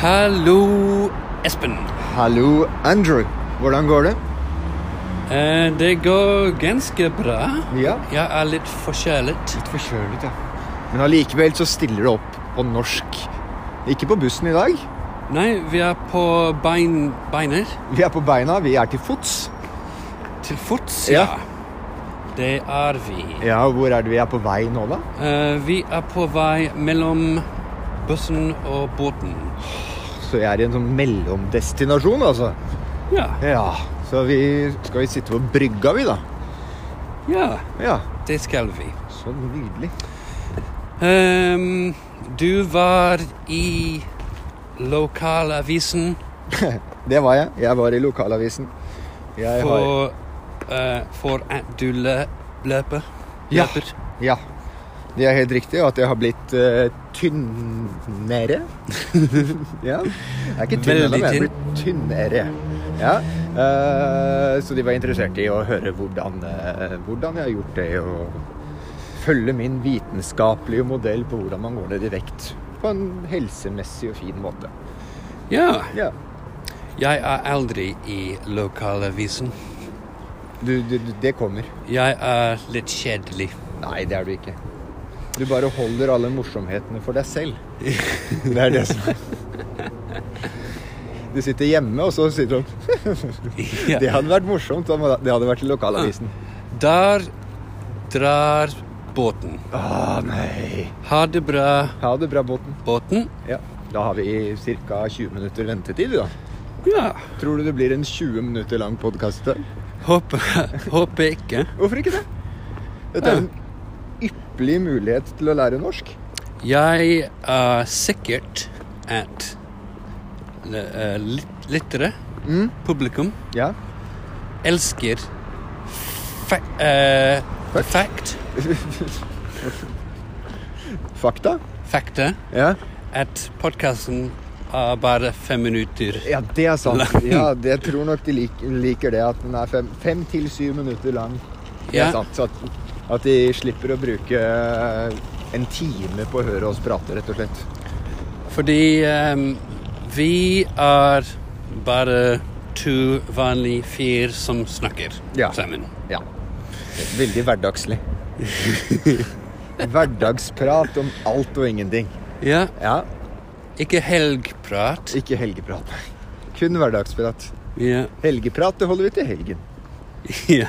Hallo, Espen. Hallo, Andrew. Hvordan går det? Eh, det går ganske bra. Ja. Jeg er litt forkjølet. Litt forkjølet, ja. Men allikevel så stiller du opp på norsk. Ikke på bussen i dag. Nei, vi er på bein, beiner. Vi er på beina, vi er til fots. Til fots, Ja. Det er vi. Ja, og hvor er det vi er på vei nå, da? Eh, vi er på vei mellom bussen og båten. Så jeg er i en sånn mellomdestinasjon, altså. Ja. Ja. Så vi skal vi sitte på brygga, vi, da. Ja, Ja. det skal vi. Så nydelig. Ehm, du var i lokalavisen Det var jeg. Jeg var i lokalavisen. Jeg har for, eh, for at du lø- løper. Ja. Løper. Ja. Det er helt riktig at jeg har blitt eh, tynnere. ja. Jeg er ikke tynn Veldig ennå, men jeg er blitt tynnere. Ja. Eh, så de var interessert i å høre hvordan, eh, hvordan jeg har gjort det, og følge min vitenskapelige modell på hvordan man går ned i vekt på en helsemessig og fin måte. ja. Ja. Jeg er aldri i lokalavisen. Du, du, du, det kommer. Jeg er litt kjedelig. Nei, det er du ikke. Du bare holder alle morsomhetene for deg selv. Det er det som er Du sitter hjemme, og så sitter du Ja. Det hadde vært morsomt om det hadde vært i lokalavisen. Der drar båten. Å nei. Ha det bra, Ha det bra, Botten. båten. Ja. Da har vi ca. 20 minutter ventetid, da. Ja. Tror du det blir en 20 minutter lang podkast i dag? Håper, håper ikke. Hvorfor ikke det? Dette er en ypperlig mulighet til å lære norsk. Jeg er sikkert at uh, lyttere, Mm. publikum, Ja. elsker fa eh, fact, Fakta? fakta Ja. at podkasten er bare fem minutter. Ja, det er sant. Ja, det jeg tror nok de lik, liker det, at den er fem, fem til syv minutter lang. Det Ja. er sant. Så at, at de slipper å bruke eh, en time på å høre oss prate, rett og slett. Fordi ehm, vi er bare to vanlige fyr som snakker Ja. sammen. Ja. Veldig hverdagslig. Hverdagsprat om alt og ingenting. Ja, Ja, ikke helgprat. ikke helgeprat. Kun hverdagsprat. Ja. Helgeprat, det holder vi til helgen. ja.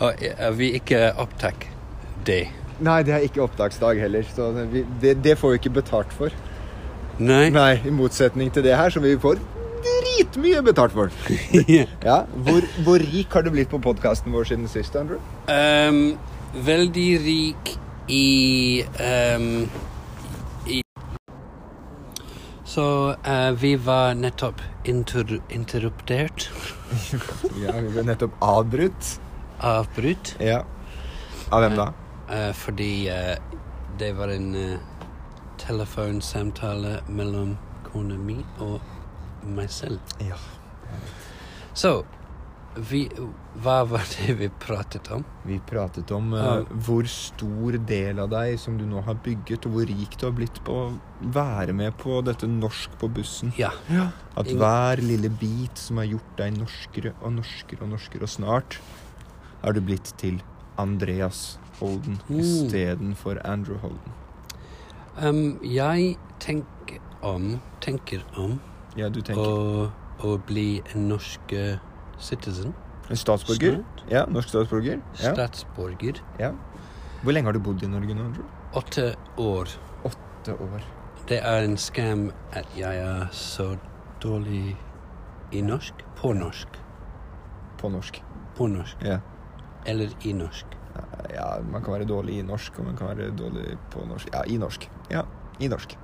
Og eh, vi ikke opptak det. Nei, det er ikke opptaksdag heller, så vi, det, det får vi ikke betalt for. Nei. Nei, i motsetning til det her, som vi får dritmye betalt for. Ja. Ja, hvor, hvor rik har du blitt på podkasten vår siden sist, Andrew? Ehm, veldig rik i, ehm, i Så eh, vi var nettopp inter interruptert. Ja, vi ble nettopp avbrutt. Avbrutt. Ja. Av hvem da? Eh, fordi eh, det var en eh, telefonsamtale mellom kona mi og meg selv. Ja. Så vi, hva var det vi pratet om? Vi pratet om eh, Ja. hvor stor del av deg som du nå har bygget, og hvor rik du har blitt på å være med på dette norsk på bussen. Ja. At Ingen- hver lille bit som har gjort deg norskere og norskere og norskere, og snart er du blitt til Andreas Holden Mm. istedenfor Andrew Holden. Ehm, jeg tenker om Tenker om Ja, du tenker å, å bli en norsk eh, citizen. En statsborger? Ja, norsk statsborger? Ja. Statsborger. Ja. Hvor lenge har du bodd i Norge nå, Andrew? Åtte år. Åtte år. Det er en skam at jeg er så dårlig i norsk. På norsk. På norsk. På norsk. Ja. Eller i norsk. ja, man kan være dårlig i norsk, og man kan være dårlig på norsk. Ja, i norsk. Ja, i norsk.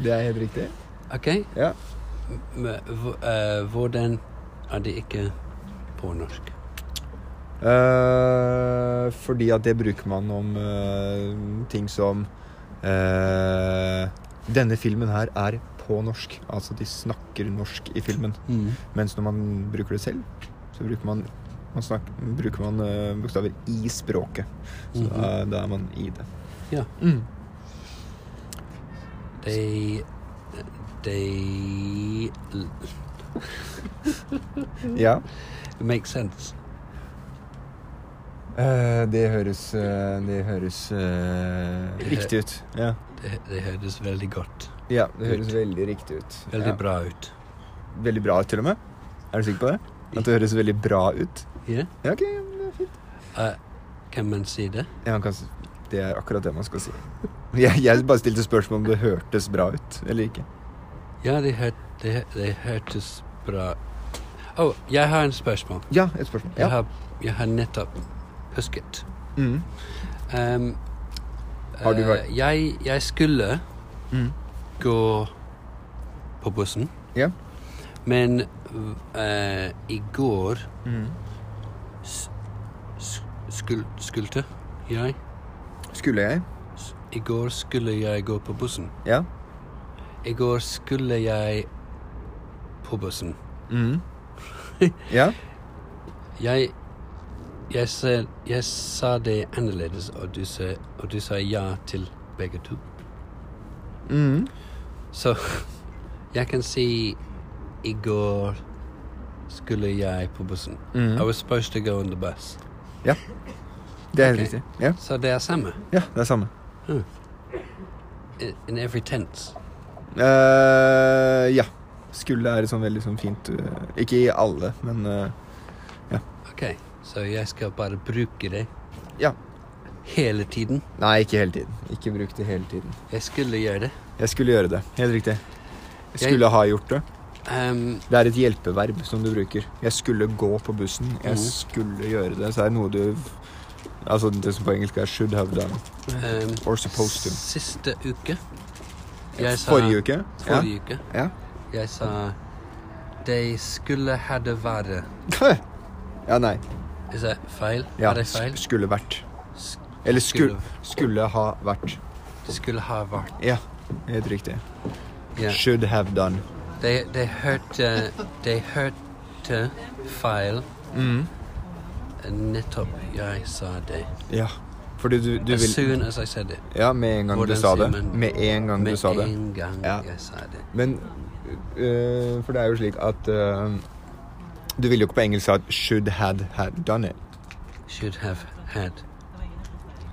Det er helt riktig. OK? Ja. Men hv- eh, hvordan er det ikke på norsk? Eh, fordi at det bruker man om eh, ting som eh, Denne filmen her er på norsk. Altså, de snakker norsk i filmen. Mens når man bruker det selv, så bruker man, man, snak, bruker man eh, bokstaver i språket. Så Mhm. da, Mm. da er man i det. Ja. Mm. Det, they l- Ja. make sense. Eh, det høres eh, Det høres eh, riktig ut. Ja. Det, det høres veldig godt. ja, det høres veldig riktig ut. Veldig ja. bra ut. Veldig bra ut, til og med. Er du sikker på det? At det høres veldig bra ut? Ja? Ja, ok, ja, men det er fint. Eh, kan man si det? Ja, man kan, s- det er akkurat det man skal si. Jeg, jeg bare stilte spørsmål om det hørtes bra ut eller ikke. Ja, det, hørt, det, det hørtes bra Å, jeg har en spørsmål. Ja, et spørsmål. Jeg, Ja. har, jeg har nettopp husket. Mm. Ehm, Har du eh, vært- jeg, jeg skulle Mm. gå på bussen, Ja. men eh, i går Mm. s- s- skul, skulte jeg Skulle jeg? S- I går skulle jeg gå på bussen. Ja. I går skulle jeg på bussen. Mm. Ja. Jeg jeg, sa, jeg sa det annerledes, og du, sa, og du sa ja til begge to. Mm. Så jeg kan si i går skulle jeg på bussen. Mm. I was supposed to go on the bus. Det er helt Ok. riktig. Ja. Så det er samme. ja, det er samme. i- In every tense. Eh, ja. Skulle er et sånn veldig sånn fint eh, Ikke i alle, men eh, Ok, så jeg skal bare bruke det Ja. hele tiden. Nei, ikke hele tiden. Ikke bruk det hele tiden. Jeg skulle gjøre det. Jeg skulle gjøre det. Helt riktig. Jeg Jeg- skulle ha gjort det. Ehm, Det er et hjelpeverb som du bruker. Jeg skulle gå på bussen. Jeg Mhm. skulle gjøre det. Så er det noe du Altså det som på engelsk er 'should have done' ehm, or 'supposed to'. Siste uke. Jeg sa, Forrige uke? Forrige uke. Ja. Jeg sa De skulle hadde vært Ja. ja, nei. Er det feil? Ja, Er det feil? sk- skulle vært. Sk- Eller skulle, skulle ha vært. Skulle ha vært Ja, helt riktig. Ja. Should have done. De, de hørte De hørte feil Mm. uh, nettopp jeg sa det. Ja. Fordi du, du As vil soon as I said it. Ja, med en gang Hvordan du sa sier det. man- Med en gang du Med sa det. en gang Ja. jeg sa det. Men øh, For det er jo slik at øh, Du ville jo ikke på engelsk sagt 'should had had done it'. Should have had.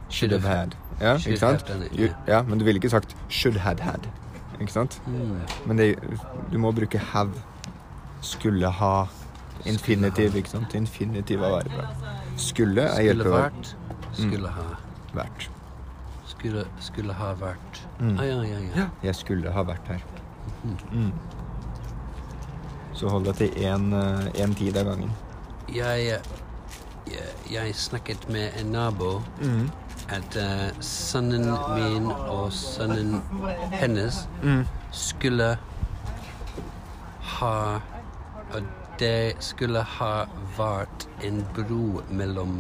Should have had. Ja, Should ikke sant? have done it, Jo- Ja, men du ville ikke sagt 'should had had'. Ikke sant? Mm. Men det, du må bruke 'have'. Skulle ha. Infinitiv, ikke sant? Infinitiv av vervet. Skulle er Skulle hjelpeverb. vært. Mm. Skulle ha. Vært. Skulle, skulle ha vært. Mm. Ah, ja, ja, ja. Jeg skulle ha vært her. Mhm. Mm. Så hold deg til én uh, tid av gangen. Jeg, eh, jeg, jeg snakket med en nabo Mm. at eh, sønnen min og sønnen hennes Mm. skulle ha at det skulle ha vært en bro mellom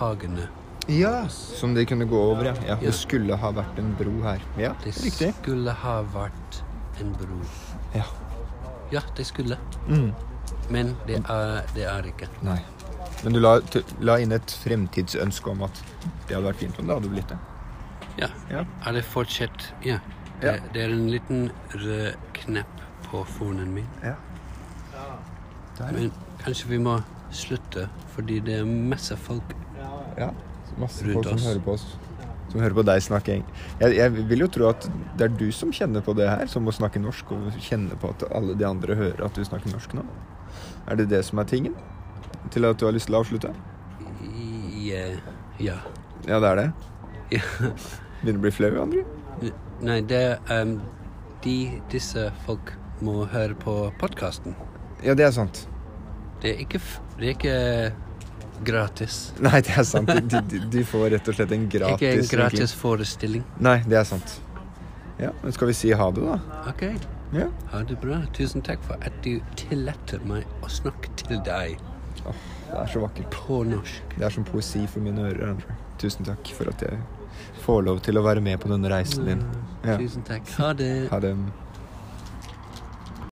hagene. Ja, som de kunne gå over, ja. Ja. ja. Det skulle ha vært en bro her. Ja, Det riktig. skulle ha vært en bro. Ja. Ja, det skulle. Mm. Men det er det er ikke. Nei. Men du la, t- la inn et fremtidsønske om at det hadde vært fint om det hadde blitt det. Ja. Ja. Er det fortsatt Ja. Ja. Det, det er en liten rød knapp på fonen min. Ja. Der. Men kanskje vi må slutte, fordi det er masse folk. Ja. Så Masse Rundt folk som oss. hører på oss. Som hører på deg snakke eng- jeg, jeg vil jo tro at det er du som kjenner på det her, som må snakke norsk, og kjenner på at alle de andre hører at du snakker norsk nå. Er det det som er tingen? Til at du har lyst til å avslutte? I, eh, ja. Ja, det er det. Ja. Begynner å bli flau, André? Nei, det er em, de, Disse folk må høre på podkasten. Ja, det er sant. Det er ikke, f- det er ikke gratis. Nei, det er sant. De, de, de får rett og slett en gratis Ikke en gratis vinkling. forestilling. Nei, det er sant. Ja, men skal vi si ha det, da? OK, Ja. ha det bra. Tusen takk for at du tillater meg å snakke til deg Åh, det er så vakkert. på norsk. Det er som poesi for mine ører. André. Tusen takk Mm, for at jeg får lov til å være med på denne reisen din. Ja. Tusen takk. Ha det. Ha det.